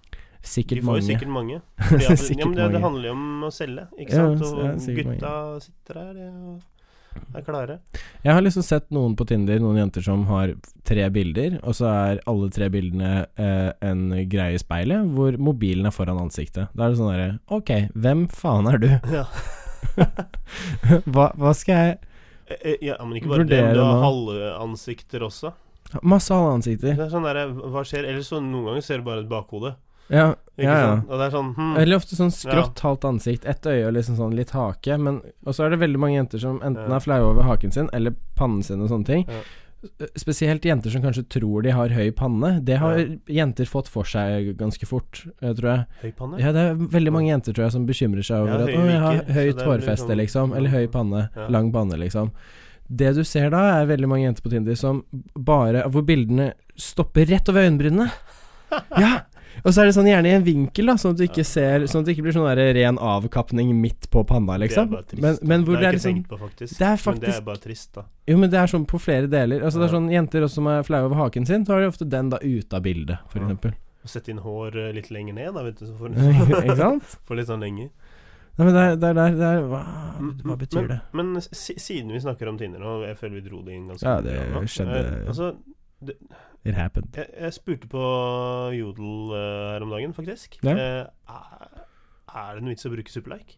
Sikkert de får jo mange. sikkert [LAUGHS] mange. Fordi at- Sikkert ja, men det, mange. det handler jo om å selge, ikke Ja, sant? ja, Og sikkert mange. gutta sitter her ja, og er klare. [LAUGHS] Jeg har liksom sett noen på Tinder, noen jenter som har tre bilder, og så er alle tre bildene eh, en greie i speilet hvor mobilen er foran ansiktet. Da er det sånn derre Ok, hvem faen er du? [LAUGHS] Ja. hva, hva skal jeg Eh, eh, ja, men ikke bare Vurdere det, men du nå. har halvansikter også. Masse halve Det ansikter. er sånn der, hva skjer? Ellers så noen ganger ser du bare et bakhode. Ja, Ikke ja, ja. sant? Og det er sånn hm, Eller ofte sånn skrått halvt ansikt, ett øye og liksom sånn litt hake. Men, og så er det veldig mange jenter som enten Ja. er flaue over haken sin eller pannen sin og sånne ting. Eh, Ja. Spesielt jenter som kanskje tror de har høy panne. Det har Ja. jenter fått for seg ganske fort, eh, tror jeg. Høy panne? Ja, det er veldig mange jenter tror jeg som bekymrer seg over Ja, at høye 'Å, jeg har viker, så høyt det er hårfeste', liksom- liksom. Eller høy panne. Ja. Lang panne, liksom. Det du ser da, er veldig mange jenter på Tinder som bare Hvor bildene stopper rett over [LAUGHS] øyenbrynene. Ja! Og så er det sånn gjerne i en vinkel, da, sånn at du ikke ser Sånn at det ikke blir sånn der ren avkapning midt på panna, liksom. bare trist, Men, da. men hvor det det har er jeg ikke liksom tenkt på, faktisk. Det er Men det faktisk er bare trist, da. Jo, men det er sånn på flere deler. Altså Det er Ja. sånn jenter også som er flaue over haken sin, så har de ofte den da ute av bildet, for Ja. [LAUGHS] eksempel. [LAUGHS] Å sette inn hår eh, litt lenger ned, da, vet du, så får Ikke du sant? [LAUGHS] får litt sånn lenger. Nei, men det er, det er, det er, det er hva, hva betyr Mm, men, det? Men si, siden vi snakker om Tinder nå, og jeg føler vi dro det inn ganske Ja, mye det nå. skjedde- Eh, altså, It happened. jeg, jeg spurte på Jodel eh, her om dagen, faktisk. Ja. Eh, er, er det noe vits å bruke Superlike?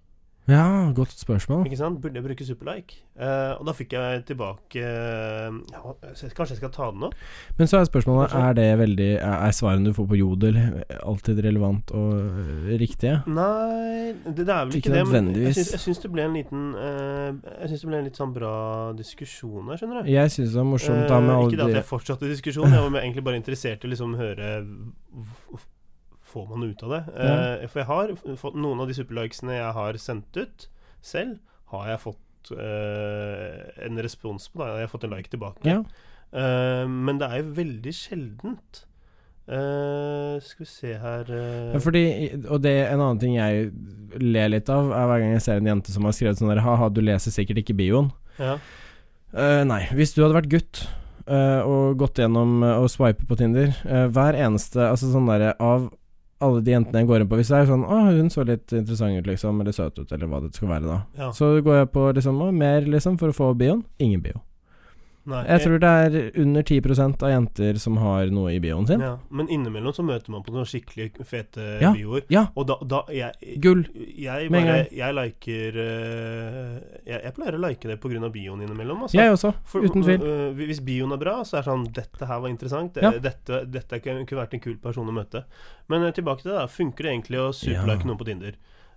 Ja, godt spørsmål. Ikke sant? Burde jeg bruke Superlike? Eh, og da fikk jeg tilbake eh, ja, så jeg- Kanskje jeg skal ta den opp? Men så er spørsmålet Kanskje- Er det veldig Er er svarene du får på Jodel, alltid relevant og øh, riktige? Nei, det, det er vel Ikke ikke, det. Men jeg nødvendigvis. syns- jeg syns det ble en liten eh, Jeg syns det ble en litt sånn bra diskusjon her, skjønner du. Jeg syns det var morsomt da med Eh, alle Ikke det at de jeg fortsatte diskusjonen, jeg var mer- egentlig bare interessert i å liksom høre v- v- Får man noe ut av det? Eh, for jeg har f- fått noen av de superlikesene jeg har sendt ut selv, har jeg fått eh, en respons på. Da. Jeg har fått en like tilbake. Ja. Eh, men det er jo veldig sjeldent. Eh, skal vi se her eh, Ja, fordi, og det en annen ting jeg ler litt av, er hver gang jeg ser en jente som har skrevet sånn der Ha-ha, du leser sikkert ikke bioen. ja. Eh, nei, hvis du hadde vært gutt eh, og gått gjennom eh, og swipet på Tinder eh, Hver eneste Altså sånn derre av alle de jentene jeg går inn på Hvis det er sånn Å, hun så litt interessant ut, liksom, eller søt ut, eller hva det skal være, da. ja. Så går jeg på liksom «Å, mer, liksom, for å få bioen. Ingen bio. Nei, Jeg tror det er under 10 av jenter som har noe i bioen sin. ja. Men innimellom så møter man på noen skikkelig fete Ja. bioer. Ja. Og da, da jeg, Gull. jeg, Med en bare, jeg liker eh, jeg, jeg pleier å like det pga. bioen innimellom. Altså. Jeg også, For, uten tvil. øh, hvis bioen er bra, så er det sånn Dette her var interessant. Det- Ja. Dette, dette kunne kunne vært en kul person å møte. Men øh, tilbake til det. da Funker det egentlig å superlike Ja. noen på Tinder?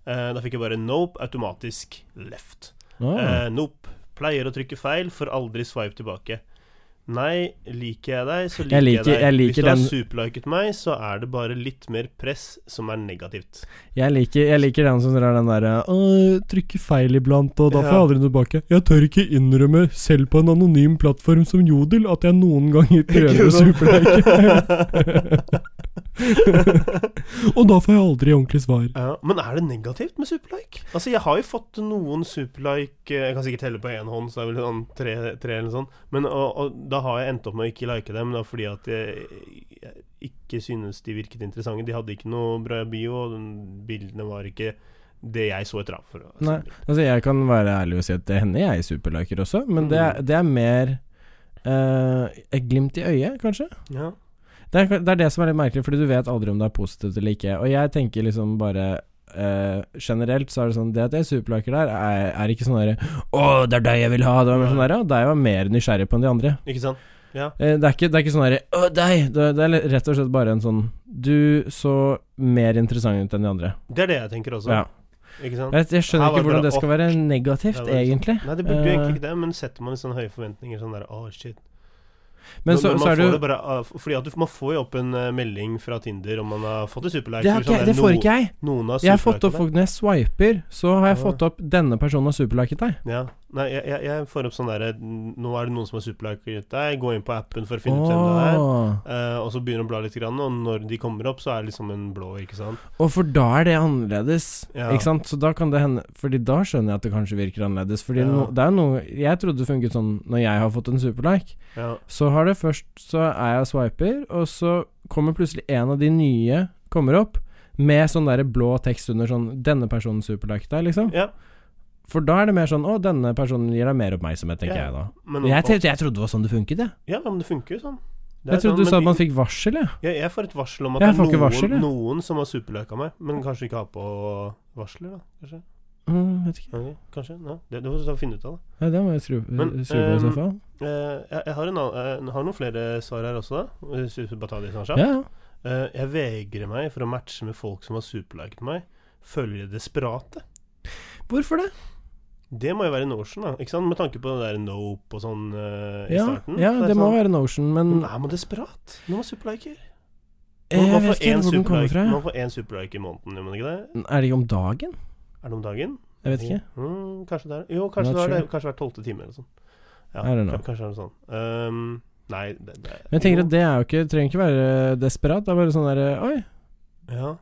Eh, da fikk jeg bare nope automatisk left. Ah. Eh, nope. Pleier å trykke feil, får aldri swipe tilbake. Nei, liker jeg deg, så liker Jeg jeg, liker- deg. jeg liker hvis du har den- superliket meg, så er det bare litt mer press som er negativt. Jeg liker, jeg liker den som drar den eh, derre «Å, jeg trykker feil iblant, og da får jeg Ja. aldri noe tilbake. Jeg tør ikke innrømme, selv på en anonym plattform som Jodel, at jeg noen ganger prøver å superlike. [LAUGHS] og da får jeg aldri ordentlig svar. Ja, men er det negativt med superlike? Altså, jeg har jo fått noen superlike eh, Jeg kan sikkert telle på én hånd, så det er vel sånn tre, tre eller sånn. Men og, og, da har jeg endt opp med å ikke like dem, da fordi at jeg, jeg ikke synes de virket interessante. De hadde ikke noe bra bio, og den- bildene var ikke det jeg så etter. da, For, å- Nei. Altså, jeg kan være ærlig og si at det hender jeg superliker også, Mm. men det er, det er mer eh, et glimt i øyet, kanskje. Ja. Det er, det er det som er litt merkelig, fordi du vet aldri om det er positivt eller ikke. Og jeg tenker liksom bare eh, generelt så er det sånn Det at jeg superliker der, er, er ikke sånn derre Å, det er deg jeg vil ha! Det var mer sånn derre «Å, Deg var mer nysgjerrig på enn de andre. Ikke sant? Ja. Eh, det, er ikke, det er ikke sånn derre Å, deg! Det, det er rett og slett bare en sånn Du så mer interessant ut enn de andre. Det er det jeg tenker også. Ja. Ikke sant? Jeg, jeg skjønner Altså, Her ikke var det hvordan bare det skal være negativt, Det var liksom- egentlig. Nei, det burde jo Eh. egentlig ikke det, men setter man i sånne høye forventninger sånn der Å, shit. Men Når- så, når man så er får det jo det bare, ah, fordi at du, Man får jo opp en eh, melding fra Tinder om man har fått en superlike. sånn det, har ikke, jeg- det får ikke jeg. Noen har Jeg har fått opp superliket folk Når jeg swiper, så har jeg Ja. fått opp 'Denne personen har superliket deg'. deg. Ja. Nei, jeg, jeg, jeg får opp sånn derre Nå er det noen som har superliket deg. Gå inn på appen for å finne ut hvem det er. Åh. Eh, og så begynner du å bla litt, grann, og når de kommer opp, så er det liksom en blå, ikke sant. Og for da er det annerledes, Ja. ikke sant? Så da kan det hende Fordi da skjønner jeg at det kanskje virker annerledes. Fordi Ja. no, det er noe Jeg trodde det funket sånn når jeg har fått en superlike. Ja. Så har det først Så er jeg og swiper, og så kommer plutselig en av de nye Kommer opp med sånn derre blå tekst under sånn 'Denne personen superlike deg', liksom. ja. For da er det mer sånn 'Å, denne personen gir deg mer oppmerksomhet', tenker Ja. jeg da. Men, Jeg, tenkte- jeg trodde det var sånn det funket, jeg. ja, men det funker jo sånn. Det er Jeg trodde sånn, du sa at men man fikk varsel, jeg. jeg, jeg får et varsel om at det Jeg er får ikke noen, varsel, jeg. noen som har superlika meg, men kanskje ikke har på varsler, da. Kanskje. Mm, vet ikke. Ok, kanskje. Ja. Det, det får vi finne ut av, da. Ja, det må jeg skru Men, skru på i så ehm, fall. Eh, jeg, jeg har, en, annen- eh, jeg har noen flere svar her også, da. Hvis vi bare tar de snart. Ja, ja. Eh, jeg vegrer meg for å matche med folk som har superliket meg. Føler de desperate? Hvorfor det? Det må jo være Notion, da. Ikke sant? Med tanke på det der Nope og sånn eh, i Ja, starten. ja er det må sånn, være Notion, men Men er man desperat når man superliker? Eh, Jeg Man, man, vet får ikke én hvor den kommer superlike, fra. man får én superlike i måneden, gjør man ikke det? Er det ikke om dagen? Er det om dagen? Jeg vet ikke. Mm, kanskje det er Jo, kanskje Not det er det. sure. Kanskje hver tolvte time eller sånn. Ja, I don't know. kan- kanskje er det sånn. Ehm, nei, det, det Men jeg tenker at det er jo ikke, trenger ikke være desperat. Det er bare sånn derre Oi, ja.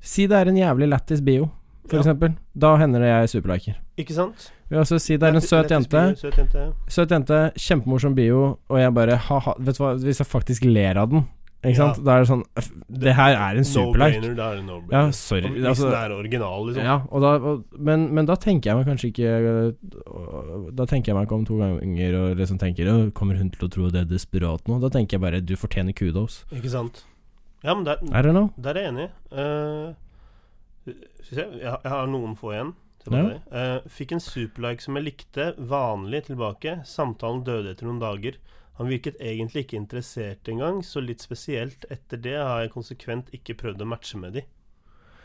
si det er en jævlig lættis bio, for Ja. eksempel. Da hender det jeg superliker. Ikke sant? Vi vil også si det er en Lettis- søt lettis jente. bio, Søt jente. Søt jente, kjempemorsom bio, og jeg bare ha-ha Vet du hva, hvis jeg faktisk ler av den, ikke Ja. sant, da er det sånn "F, Det her er en superlike. No-brainer, da er det no-brainer. Ja, Og sorry. Hvis Altså, den er original, liksom. ja, og da, og, men, men da tenker jeg meg kanskje ikke øh, Da tenker jeg meg ikke om to ganger og liksom tenker «Åh, Kommer hun til å tro det er desperat nå? Da tenker jeg bare du fortjener kudos. Ikke sant? Ja, men der, I don't know. der er jeg enig. Eh, skal vi se, jeg, har- jeg har noen få igjen. til Ja. deg. Eh, fikk en superlike som jeg likte, vanlig tilbake. Samtalen døde etter noen dager. Han virket egentlig ikke interessert engang, så litt spesielt. Etter det har jeg konsekvent ikke prøvd å matche med de.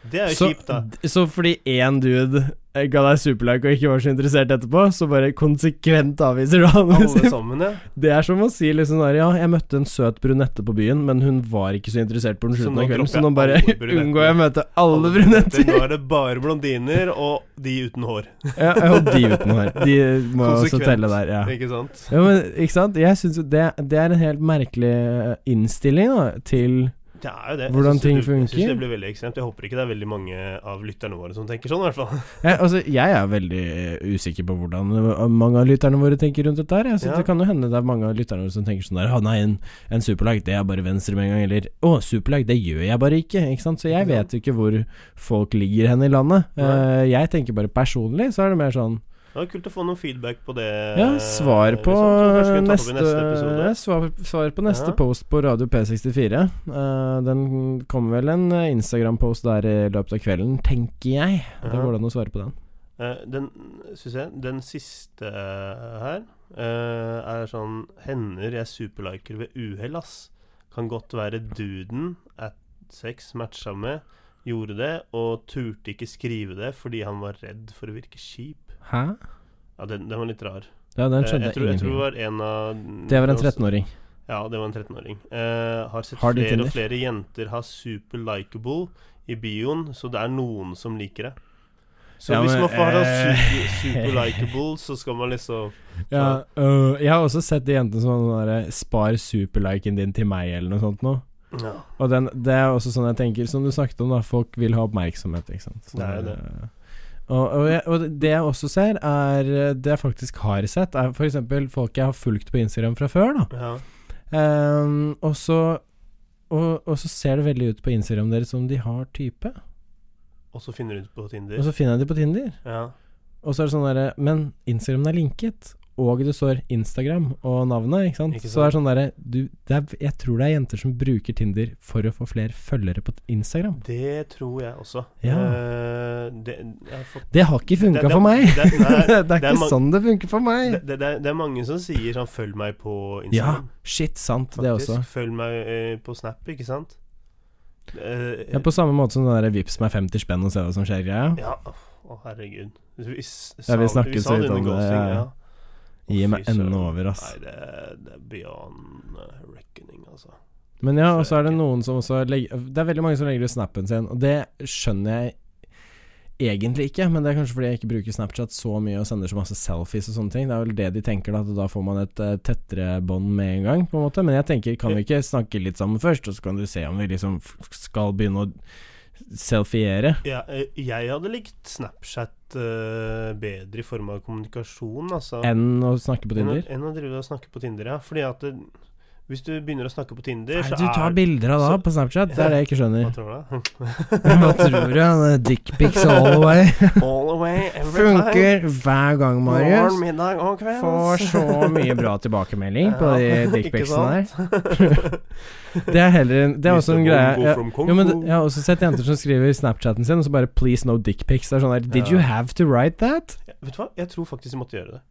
Det er jo Så, kjipt, [LAUGHS] da. d- så fordi én dude eh, ga deg superlike og ikke var så interessert etterpå, så bare konsekvent avviser du Alle han? sammen, ja. [LAUGHS] Det er som å si liksom der, ja, jeg møtte en søt brunette på byen, men hun var ikke så interessert på den Så slutten nå av kvelden, dropper så nå jeg bare alle [LAUGHS] brunetter. unngår jeg å møte alle brunetter. brunetter. [LAUGHS] Nå er det bare blondiner og de uten hår. ja, og de uten hår. De må også Konsekvent. telle der, ja. Ikke sant? Ja, men ikke sant? Jeg synes jo det, det er en helt merkelig eh, innstilling da, til Det er jo det. Jeg Hvordan synes det ting blir- Jeg funker. synes det blir veldig ekstremt. Jeg håper ikke det er veldig mange av lytterne våre som tenker sånn, i hvert fall. jeg, Altså, jeg er veldig eh, usikker på hvordan eh, mange av lytterne våre tenker rundt dette her. Jeg synes Ja. Det kan jo hende det er mange av lytterne våre som tenker sånn der Å nei, en, en superlag, det er bare venstre med en gang. Eller å, superlag, det gjør jeg bare ikke. Ikke sant? Så jeg Ikke sant? vet jo ikke hvor folk ligger hen i landet. Nei. Eh, jeg tenker bare personlig, så er det mer sånn Det var kult å få noen feedback på det. Ja, svar på Eh, liksom. Så kanskje vi tar opp neste, i neste episode. svar, svar på neste Ja. post på Radio P64. Eh, den kommer vel en eh, Instagram-post der i løpet av kvelden, tenker jeg. Det Ja. går an å svare på den. Eh, den, synes jeg, den siste eh, her eh, er sånn Hender jeg superliker ved uhell, ass. Kan godt være duden at sex matcha med, gjorde det, og turte ikke skrive det fordi han var redd for å virke kjip. Hæ? Ja, den, den var litt rar. Ja, den Eh, skjønte jeg, jeg tror, jeg tror ingenting det av. var en av Det var en var- 13-åring. Ja, det var en 13-åring. Eh, har sett Har de flere og Tinder? flere jenter ha super likeable i bioen, så det er noen som liker det. Så Ja, hvis men, man får ha eh, super, super [LAUGHS] likeable, så skal man liksom Ja, øh, jeg har også sett de jentene som har den derre eh, 'spar superliken din til meg', eller noe sånt noe. ja. Og den, det er også sånn jeg tenker, som du snakket om, da. Folk vil ha oppmerksomhet, ikke sant. Det er jo det. eh, Og, og, jeg, og det jeg også ser, er eh, Det jeg faktisk har sett, er f.eks. folk jeg har fulgt på Instagram fra før, da. Ja. Ehm, og så og, og så ser det veldig ut på Instagram deres som de har type. Og så finner du ut på Tinder. Og så finner jeg de på Tinder. Ja. Og så er det sånn derre Men Instagram er linket, og det står Instagram og navnet, ikke sant? Ikke Så det er sånn derre du, det er- Jeg tror det er jenter som bruker Tinder for å få flere følgere på Instagram. Det tror jeg også. Ja. Eh, det, jeg har fått Det har ikke Det- det- funka for meg! Det, nei, [LAUGHS] Det er det er ikke mang- sånn det funker for meg! det, det, det, er- det er mange som sier sånn 'følg meg på Ja, Instagram'. shit, sant, det faktisk. også. Følg meg eh, på Snap, ikke sant? Eh, Ja, på samme måte som den der vips meg 50 spenn og se hva som skjer, greia. Ja, uff, å herregud. Vi, s- Ja, vi sa- snakket så sa vidt det under om det, Ghosting, ja, ja. ja. Gi Å, meg fy søren. enden over, ass. Nei, det, er- det er beyond eh, reckoning, altså. Men ja, og så er det noen som også legger Det er veldig mange som legger ut snappen sin, og det skjønner jeg egentlig ikke, men det er kanskje fordi jeg ikke bruker Snapchat så mye og sender så masse selfies og sånne ting. Det er vel det de tenker, da, at da får man et eh, tettere bånd med en gang, på en måte. Men jeg tenker, kan vi ikke snakke litt sammen først, og så kan du se om vi liksom f- skal begynne å selfiere? Ja, eh, jeg hadde likt Snapchat eh, bedre i form av kommunikasjon, altså. Enn å snakke på Tinder? Enn å- Enn å drive og snakke på Tinder, ja. Fordi at det, hvis du begynner å snakke på Tinder, Nei, så du tar er bilder av da så- på Snapchat, det er det jeg ikke Hva skjønner. tror du? da? [LAUGHS] Hva tror du? Dickpics all the way. [LAUGHS] All the way, [LAUGHS] every time. Funker hver gang, Marius. Morgen, middag og kveld. Får så mye [LAUGHS] bra tilbakemelding på de Ja, ikke dickpicsene der. [LAUGHS] sant? [LAUGHS] Det er heller en, Det er også en Mr. greie Bongo ja, from jo, men det- Kongo. Jeg har også sett jenter som skriver i Snapchaten sin, og så bare 'please no dickpics'. Det er sånn der Did Ja. you have to write that? Ja, Vet du hva, jeg tror faktisk jeg måtte gjøre det.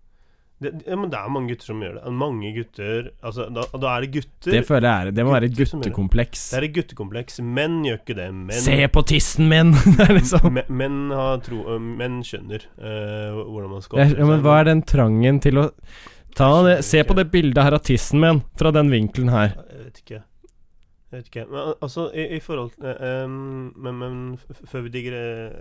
det ja, men det er mange gutter som gjør det. Mange gutter Altså, da, da er det gutter. Det føler jeg er Det må være et gutter som gjør det. guttekompleks. Det er et guttekompleks. Menn gjør ikke det. Menn, Se på tissen min! [LAUGHS] Det er liksom men- menn, har tro, øh, menn skjønner øh, hvordan man skal Jeg- ja, Men hva er den trangen til å Ta Jeg skjønner det Se på ikke. det bildet her av tissen min, fra den vinkelen her. Jeg vet ikke. Jeg vet ikke. Men al- altså, i, i forhold til øh, um, Men, men f- f- før vi digger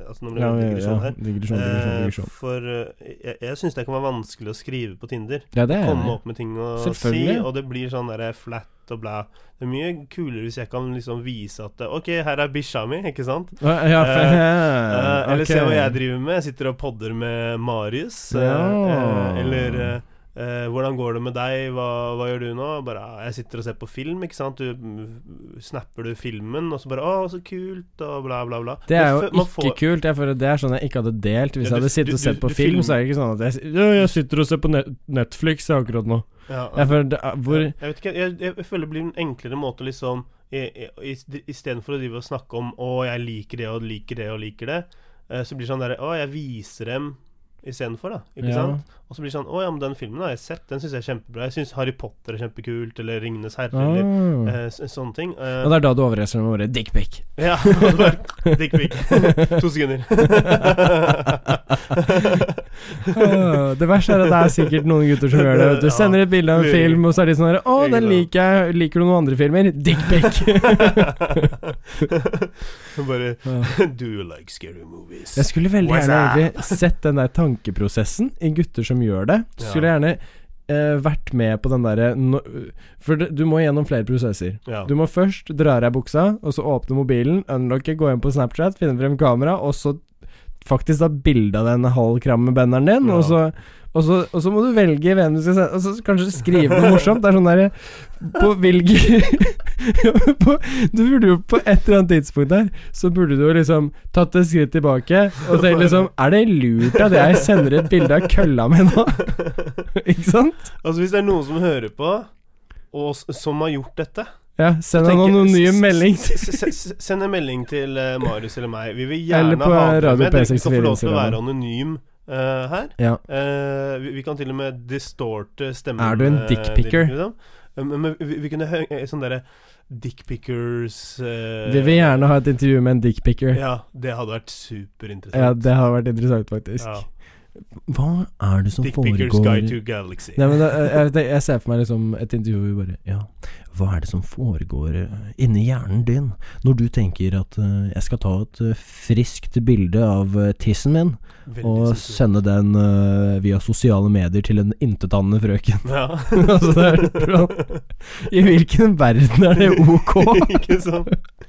Altså, nå blir det Ja, en ja, sånn, digresjon ja. her. Digresjon, Eh, digresjon, digresjon. for øh, jeg, jeg syns det kan være vanskelig å skrive på Tinder. Ja, det er jeg komme enig i. Eh, opp med ting å si, Selvfølgelig. og det blir sånn der flat og bla. Det er mye kulere hvis jeg kan liksom vise at OK, her er bikkja mi, ikke sant? Å, Ja, for, [LAUGHS] Eh, ja, Eller ok. se hva jeg driver med. Jeg sitter og podder med Marius. eh, Ja. eh, eller eh, eh, hvordan går det med deg, hva, hva gjør du nå? Bare, ah, jeg sitter og ser på film, ikke sant. Du mm, snapper du filmen, og så bare Å, så kult, og bla, bla, bla. Det er jo Man fø- ikke man får- kult. Jeg føler Det er sånn jeg ikke hadde delt. Hvis Ja, jeg du- hadde sittet du- og sett du- på du film, film- så er det ikke sånn at jeg s- «Ja, Jeg sitter og ser på net Netflix jeg, akkurat nå. Ja, Jeg føler det er, hvor Ja, Jeg vet ikke, jeg, jeg, jeg føler det blir en enklere måte å liksom Istedenfor å drive og snakke om 'Å, jeg liker det og liker det og liker det', eh, så blir det sånn derre 'Å, jeg viser dem' istedenfor, da. Ikke Ja. sant? Og så blir det sånn 'Å ja, men den filmen har jeg sett, den syns jeg er kjempebra'. Jeg syns 'Harry Potter' er kjempekult', eller 'Ringenes herre', eller ah. eh, så- sånne ting. Eh, Og det er da du overrasker med ordet [LAUGHS] dickpic. ja, [LAUGHS] og bare, dick pic. [LAUGHS] to sekunder. [LAUGHS] Ah, Det verste er at det er sikkert noen gutter som gjør det. vet Du Ja. sender et bilde av en film, og så er de sånn her, 'Å, den liker jeg. Liker du noen andre filmer?' Dickpic. bare Ja. Do you like scary movies? Jeg skulle veldig What's gjerne up? egentlig sett den der tankeprosessen i gutter som gjør det. Skulle Ja. gjerne eh, vært med på den derre nå- For det- du må gjennom flere prosesser. Ja. Du må først dra av deg buksa, og så åpne mobilen, unlocke, gå inn på Snapchat, finne frem kamera, og så faktisk da bilde av den halvkrammebenderen din, Ja. og, så, og, så, og så må du velge hvem du skal sende Og så kanskje skrive noe morsomt. Det er sånn derre På hvilken [LAUGHS] på, Du burde jo på et eller annet tidspunkt der, så burde du jo liksom tatt et skritt tilbake og tenkt liksom Er det lurt at jeg sender et bilde av kølla mi [LAUGHS] nå? [LAUGHS] Ikke sant? Altså, hvis det er noen som hører på, og s- som har gjort dette Ja, send en tenker- anonym s- s- melding. s- s- Send en melding til eh, Marius eller meg. Vi vil Eller gjerne på ha dere Radio med. Dere skal få P64 lov til å Instagram. være anonym eh, her. Ja. Eh, vi, vi kan til og med distorte stemmen Er du en eh, dickpicker? din, liksom. Eh, Men, men vi, vi kunne høre sånn derre dickpickers uh, Vi vil gjerne ha et intervju med en dickpicker. Ja, det hadde vært Ja, superinteressant. det har vært interessant, faktisk. Ja. Hva er det som Dickpickers guide to galaxy. Nei, men da, jeg, jeg, jeg ser for meg liksom et intervju hvor vi bare Ja, hva er det som foregår eh, inni hjernen din når du tenker at eh, jeg skal ta et eh, friskt bilde av eh, tissen min Veldig og sensuelt. sende den eh, via sosiale medier til en intetanende [LAUGHS] frøken? [LAUGHS] Ja. [LAUGHS] Altså, det er bra. I hvilken verden er det ok? [LAUGHS] [LAUGHS] Ikke sant? [LAUGHS]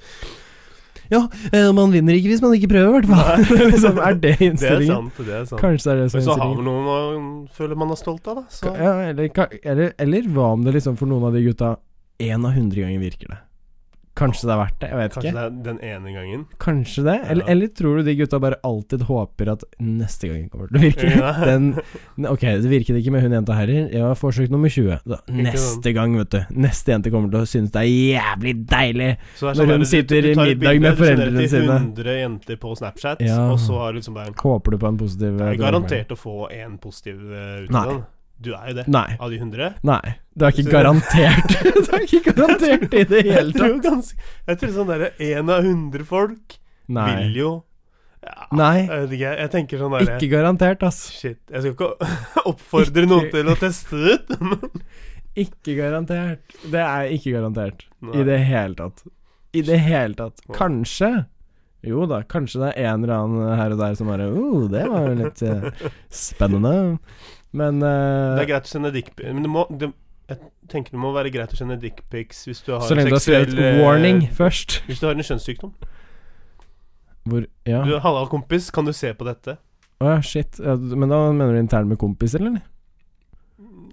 Eh, man vinner ikke hvis man ikke prøver, i hvert fall. Nei. [LAUGHS] liksom, er det Det er innstillingen? sant. Det er sant. Kanskje det er det Men som så er har innstillingen. vi noen man føler man er stolt av, da. Så. Ja, eller, ka- eller, eller hva om det liksom for noen av de gutta én av hundre ganger virker det? Kanskje det er verdt det? Jeg vet Kanskje ikke. det er den ene [LAUGHS] gangen. Kanskje det? Eller, Ja. eller tror du de gutta bare alltid håper at neste gang kommer det til å virke? Ja. [LAUGHS] Den, ne- ok, det virket ikke med hun jenta heller. Jeg har forsøk nummer 20. Da, neste gang, vet du. Neste jente kommer til å synes det er jævlig deilig. [LAUGHS] Så det er Når hun der, du- sitter du i tar et middag med du sender det foreldrene til sine. 100 jenter på Snapchat, Ja. og så har du liksom bare Håper du på en positiv eh, Det er garantert å få én positiv eh, ut av Nei. den. Du er jo det. Nei. Av de 100. Nei. Det er Så- ikke garantert. [LAUGHS] det er ikke garantert i det Jeg [LAUGHS] hele tror tatt. jo ganske Jeg tror sånn derre én av 100 folk Nei. vil jo ja, Nei. Jeg vet ikke, jeg tenker sånn derre Ikke garantert, ass. Shit. Jeg skal ikke [LAUGHS] oppfordre noen til å teste det ut. [LAUGHS] Ikke garantert. Det er ikke garantert. Nei. I det hele tatt. I det hele tatt. Nei. Kanskje. Jo da, kanskje det er en eller annen her og der som bare oh, det var jo litt eh, spennende. Men eh, Det er greit å sende dickpics Men det må det, Jeg tenker det må være greit å sende dickpics hvis du har så en lenge du har skrevet seksuell, eh, warning først Hvis du har en kjønnssykdom. Hvor Ja. Du, Halla, kompis, kan du se på dette? Å ja, shit. Ja, du- Men da mener du intern med kompis, [LAUGHS] eller?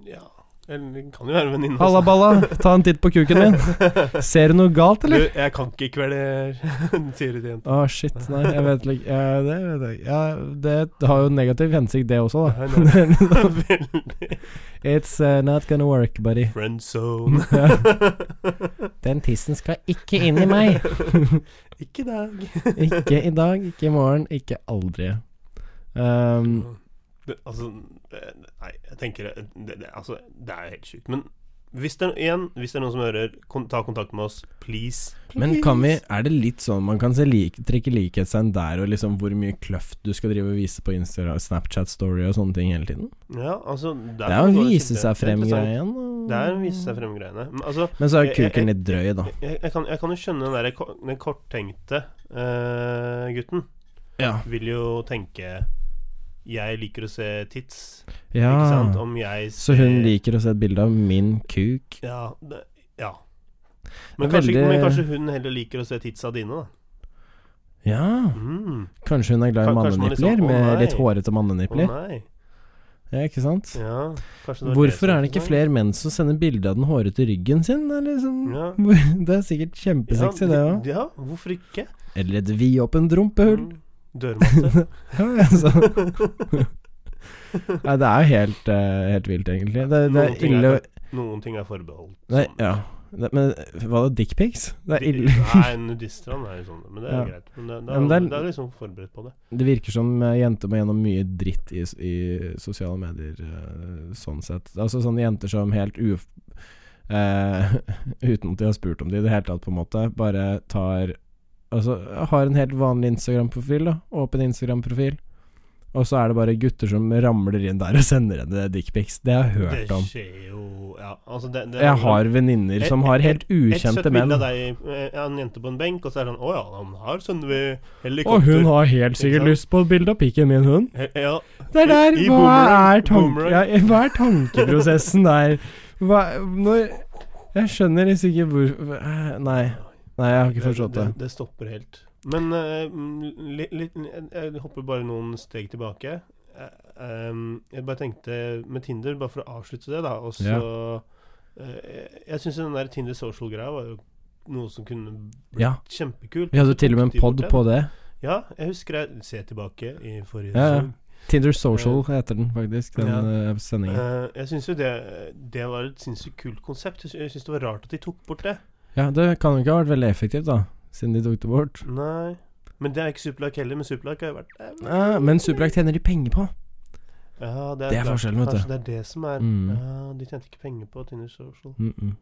Ja Eller det kan jo være en venninne. også. Halla, balla, ta en titt på kuken min. [LAUGHS] Ser du noe galt, Du, eller? jeg kan ikke kvelere [LAUGHS] Sier du til jenta. Å, shit. Nei, jeg vet ikke ja, Det vet jeg ikke. Ja, det har jo negativ hensikt, det også, Nei, [LAUGHS] da. nei. [LAUGHS] Veldig It's uh, not gonna work, buddy. friend [LAUGHS] zone. Den tissen skal ikke inn i meg. [LAUGHS] ikke i dag. Ikke i dag, ikke i morgen, ikke aldri. Um, [LAUGHS] Det, altså eh, Nei, jeg tenker det, det, det, altså, det er jo helt sjukt. Men hvis det, er- igjen, hvis det er noen som hører, kon ta kontakt med oss. Oh, Please. men kan vi, er det litt sånn man kan se lik, trekke likhetstegn der og liksom hvor mye kløft du skal drive og vise på Instagram, Snapchat Story og sånne ting hele tiden? Ja, altså Det der er kan jo vi å gå vise litt seg videre. Det er interessant. frem-greien. Det er å vise seg frem-greiene. Men altså Men så er Jeg- jeg- kuken litt drøy, da. jeg, jeg, kan, jeg kan jo skjønne den der ko- den korttenkte eh, gutten. Ja. Vil jo tenke Jeg liker å se tits, ja. ikke sant? Om jeg Så hun liker å se et bilde av min kuk. Ja. Det, ja. Det Men, er kanskje, veldig- men kanskje hun heller liker å se titsa dine, da. Ja, Mm. kanskje hun er glad i Kan- kanskje man liksom- mannenipler, Å, med nei. litt hårete Å mannenipler. nei. Ja, ikke sant? Ja, kanskje det var Hvorfor er det ikke som- flere menn som sender bilde av den hårete ryggen sin? Det er, liksom, Ja. [LAUGHS] det er sikkert kjempesexy, det ja, òg. ja, hvorfor ikke? Eller et vidåpent rumpehull. Mm. Dørmatte. Ja, altså. [LAUGHS] Nei, det er jo helt, eh, helt vilt, egentlig. [LAUGHS] Det, det Noen er ting er ille å Noen ting er forbeholdt Nei, sånn. ja. Det, men hva da? Dickpics? Det er De- ille. Nei, nudistland er jo sånn, men det er Ja. greit. Men det, det, Ja, er, men det er- det er liksom forberedt på det. Det virker som eh, jenter må gjennom mye dritt i, s- i sosiale medier, eh, sånn sett. Altså sånne jenter som helt uf... eh, [LAUGHS] uten at de har spurt om det i det hele tatt, på en måte, bare tar Altså har en helt vanlig Instagram-profil, da. Åpen Instagram-profil. Og så er det bare gutter som ramler inn der og sender henne dickpics. Det har jeg hørt det om. skjer jo Ja, altså det, det Jeg har venninner som har helt et søtt ukjente menn. bilde av deg, eh, en jente på en benk, og så er det sånn Å ja, han har sønnen ved Og helikopter. hun har helt sikkert Ikke sant? lyst på et bilde av pikken min, hun. He- Ja, Det er der! I- i Hva boomerang- er, tanke, ja, boomerang. hva er tankeprosessen der? Hva, når Jeg skjønner liksom ikke hvor eh, Nei. Nei, jeg har ikke forstått det. Det, det stopper helt. Men eh, mm, litt, litt, jeg hopper bare noen steg tilbake. Eh, ehm, jeg bare tenkte med Tinder, bare for å avslutte det, da. Og så eh, Jeg syns den der Tinder social-greia var jo noe som kunne blitt Ja. kjempekult. Vi hadde jo til og med en pod på det. Ja, jeg husker jeg Se tilbake i forrige Ja, ja. sesong. Tinder Social heter den faktisk, den eh, sendingen. Eh, jeg syns jo det, det var et sinnssykt kult konsept. Jeg sy- Jeg syns det var rart at de tok bort det. Ja, det kan jo ikke ha vært veldig effektivt, da, siden de tok det bort. Nei. Men det er ikke Superlag heller, men Superlag har jo vært Eh, men Superlag tjener de penger på. Ja, det er, Det er klart. forskjellen, vet du. Kanskje det er det som er Mm. ja, De tjente ikke penger på Tinder Social. Mm -mm.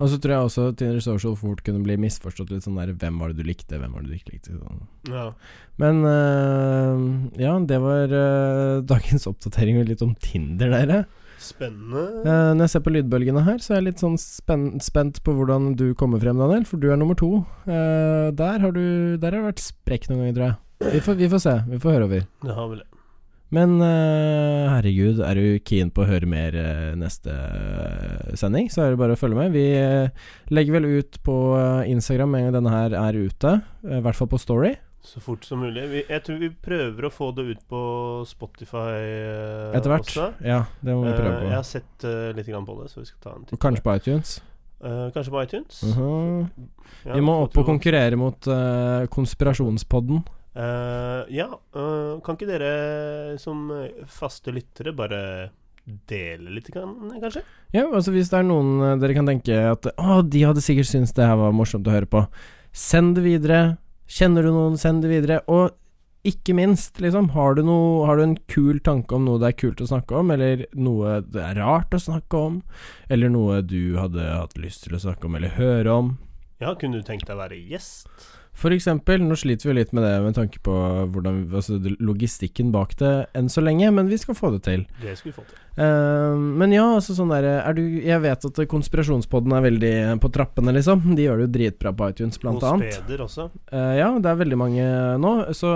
Og så tror jeg også Tinder Social fort kunne bli misforstått litt sånn der Hvem var det du likte, hvem var det du ikke likte? Sånn. Ja. Men eh, ja, det var eh, [LAUGHS] dagens oppdatering og litt om Tinder, dere. Spennende. Eh, når jeg ser på lydbølgene her, så er jeg litt sånn spen spent på hvordan du kommer frem, Daniel. For du er nummer to. Eh, der har du Der har du vært sprekk noen ganger, tror jeg. Vi får, vi får se. Vi får høre over. Det har vel Men eh, herregud, er du keen på å høre mer eh, neste eh, sending, så er det bare å følge med. Vi eh, legger vel ut på eh, Instagram med en gang denne her er ute, eh, i hvert fall på Story. så fort som mulig. Vi, jeg tror vi prøver å få det ut på Spotify eh, Etter hvert. også. Ja, det må vi Eh, prøve jeg på. har sett eh, litt grann på det, så vi skal ta en titt. Og kanskje på iTunes. Eh, kanskje på iTunes. Mhm. Ja, Vi må får opp og tro. konkurrere mot eh, konspirasjonspodden. Eh, ja, eh, kan ikke dere som eh, faste lyttere bare dele litt, grann, kanskje? Ja, altså Hvis det er noen eh, dere kan tenke at Å, de hadde sikkert syntes det her var morsomt å høre på. Send det videre. Kjenner du noen, send det videre. Og ikke minst, liksom, har du, noe, har du en kul tanke om noe det er kult å snakke om, eller noe det er rart å snakke om, eller noe du hadde hatt lyst til å snakke om eller høre om, Ja, kunne du tenkt deg å være gjest? For eksempel, nå sliter vi litt med det med tanke på hvordan, altså, logistikken bak det enn så lenge, men vi skal få det til. Det skulle vi få til. Eh, men ja, altså sånn der, er du, jeg vet at konspirasjonspodden er veldig på trappene, liksom. De gjør det jo dritbra på iTunes, blant Og annet. speder også. Eh, ja, det er veldig mange nå. Så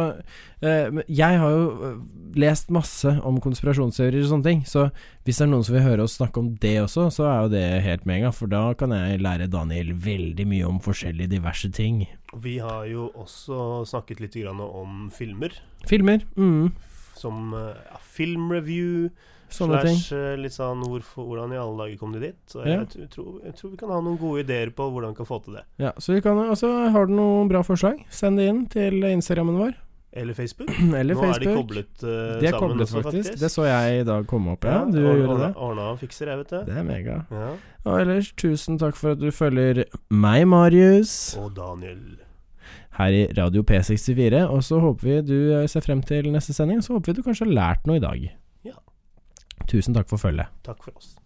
eh, men jeg har jo eh, lest masse om konspirasjonsteorier og sånne ting. Så hvis det er noen som vil høre oss snakke om det også, så er jo det helt mega. For da kan jeg lære Daniel veldig mye om forskjellige diverse ting. Vi har jo også snakket litt grann om filmer. Filmer. Mm, f- Som eh, ja, filmreview sånne ting. slash eh, litt sånn hvorfor, hvordan i alle dager kom de dit. Så Ja. jeg, tr- tror, jeg tror vi kan ha noen gode ideer på hvordan vi kan få til det. Ja, så vi kan altså, Har du noen bra forslag, send det inn til Instagrammen vår. [CLEARS THROAT] Eller Facebook. Eller Nå Facebook. er de koblet eh, De er sammen koblet, også, faktisk. Det så jeg i dag komme opp, ja. Ja, Du or- gjorde orna, det. Orna og fikser, jeg, vet det. Det er mega. Ja. Og ellers, tusen takk for at du følger meg, Marius, Og Daniel. her i Radio P64. Og så håper vi du eh, ser frem til neste sending, og så håper vi du kanskje har lært noe i dag. Ja. Tusen takk for følget. Takk for oss.